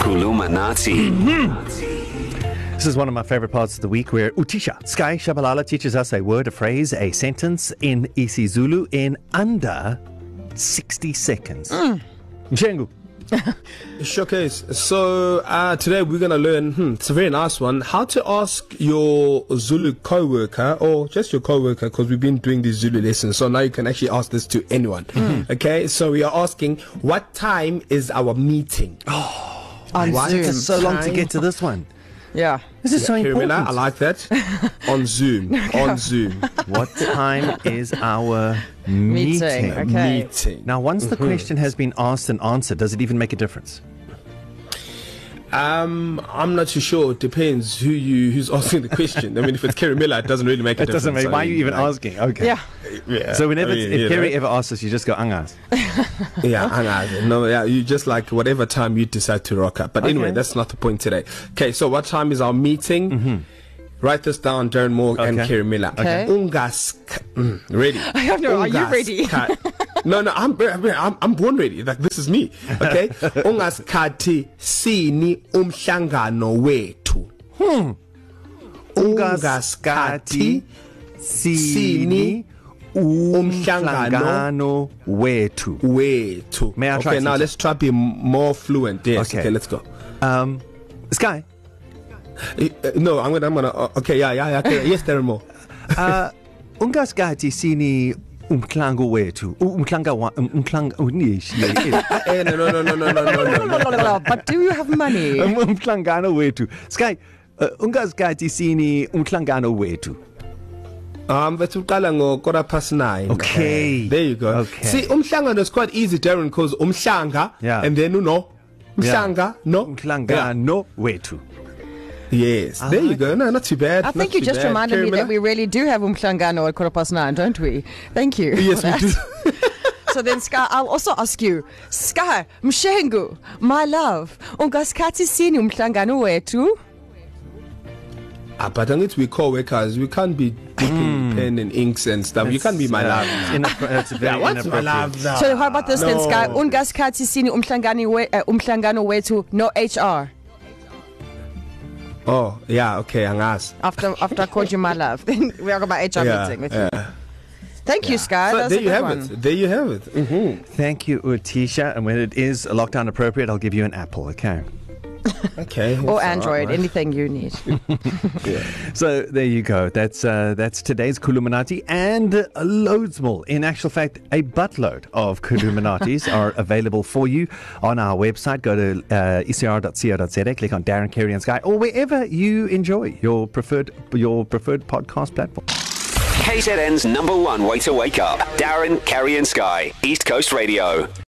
Kulumanati. This is one of my favourite parts of the week where Utisha Sky Shabalala teaches us a word, a phrase, a sentence in isiZulu in under 60 seconds. Mm. Mshengu. Showcase. So uh, today we're gonna learn. Hmm, it's a very nice one. How to ask your Zulu coworker or just your coworker, because we've been doing these Zulu lessons. So now you can actually ask this to anyone. Hmm. Mm-hmm. Okay. So we are asking, what time is our meeting? On Why It took Zoom. so long to Time. get to this one. Yeah. This is yeah, so important. Carolina, I like that. on Zoom. On Zoom. What time is our meeting? Meeting, meeting. okay. Meeting. Now, once the question has been asked and answered, does it even make a difference? Um, I'm not too sure. It depends who you who's asking the question. I mean, if it's Karimela, it doesn't really make a It difference. doesn't make. I Why are mean, you even like, asking? Okay. Yeah. Yeah. So whenever I mean, you if Kerry know. ever asks us, you just go angas. Yeah, hang on. No, yeah, you just like whatever time you decide to rock up. But okay. anyway, Okay. that's not the point today. Okay, so what time is our meeting? Mm-hmm. Write this down, Darren Moore okay. and Okay. Kerry Miller. Okay. Ungask. Mm, ready. I don't know, are you ready? no, no, I'm, I'm, I'm born ready. Like, this is me. Okay? Ungaskati sini umhlangano wethu. Ungaskati sini umhlangano Sangano wetu. way too. May I okay, try now something? let's try to be m- more fluent. Yes. Okay. Okay, okay let's go. Um, Sky, Uh, uh, no, I'm gonna. I'm gonna. Uh, okay, yeah, yeah, yeah. Okay. yes, there are more. ungasikhathi sini umklango wethu. U- Umklanga wa um- umklanga unishi. Uh, eh, no, no, no, no, no, no, no, no, no. but do you have money? Um, Umklangano Um, wethu. Sky, uh, ungasikhathi sini umklangano wethu. Um, but uqala ngo quarter past nine. Okay. Uh, there you go. Okay. See, umhlangano is quite easy, Darren, because umhlanga, Yeah. and then you know, Yeah. umhlanga, Ah. yeah. no, Umklangano wethu. Yeah. Yes. I there like you go. No, not too bad. I not think you too just bad. reminded me Kerry that Miller? we really do have umhlangano at quarter past nine, don't we? Thank you. Yes, for we that. do. so then, Sky, I'll also ask you, Sky, mshengu, my love, ungasikhathi sini umhlangano wethu? Ah, but I need to be co-workers. We can't be dipping pen and inks and stuff. You can't be my love. Inappro- that's very Yeah, what's my inappropriate. love now? So how about this then, Ah, No. Sky, ungasikhathi sini umhlangano we- uh, umhlangano wethu? No HR Oh, yeah. Okay, angas. after after I called you my love. Then we are about HR yeah, meeting with yeah. you. Thank yeah. you, Sky. So That's there a you good have one. Mm-hmm. it. There you have it. Thank you, Utisha. And when it is lockdown appropriate, I'll give you an apple, okay? Okay. Or that's Android, all right. anything you need. So there you go. That's uh, that's today's Kuluminati and loads more. In actual fact, a buttload of Kuluminatis are available for you on our website. Go to uh, ecr.co.za, click on Darren Carey and Sky, or wherever you enjoy your preferred your preferred podcast platform. KZN's number one way to wake up. Darren, Kerry, and Sky. East Coast Radio.